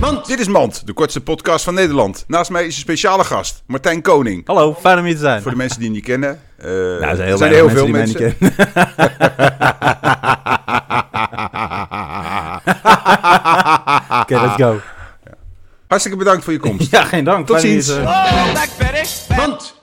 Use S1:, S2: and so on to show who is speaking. S1: Mand! Dit is Mand, de kortste podcast van Nederland. Naast mij is een speciale gast, Martijn Koning.
S2: Hallo, fijn om hier te zijn.
S1: Voor de mensen die hem niet kennen. eh,
S2: Nou, er zijn
S1: er
S2: heel,
S1: zijn
S2: weinig
S1: heel
S2: mensen
S1: veel
S2: die mij niet kennen. Oké, let's go.
S1: Hartstikke bedankt voor je komst.
S2: Ja, geen dank.
S1: Tot
S2: Fijn om hier
S1: ziens.
S2: te zijn.
S3: Blackberry.
S1: Mand!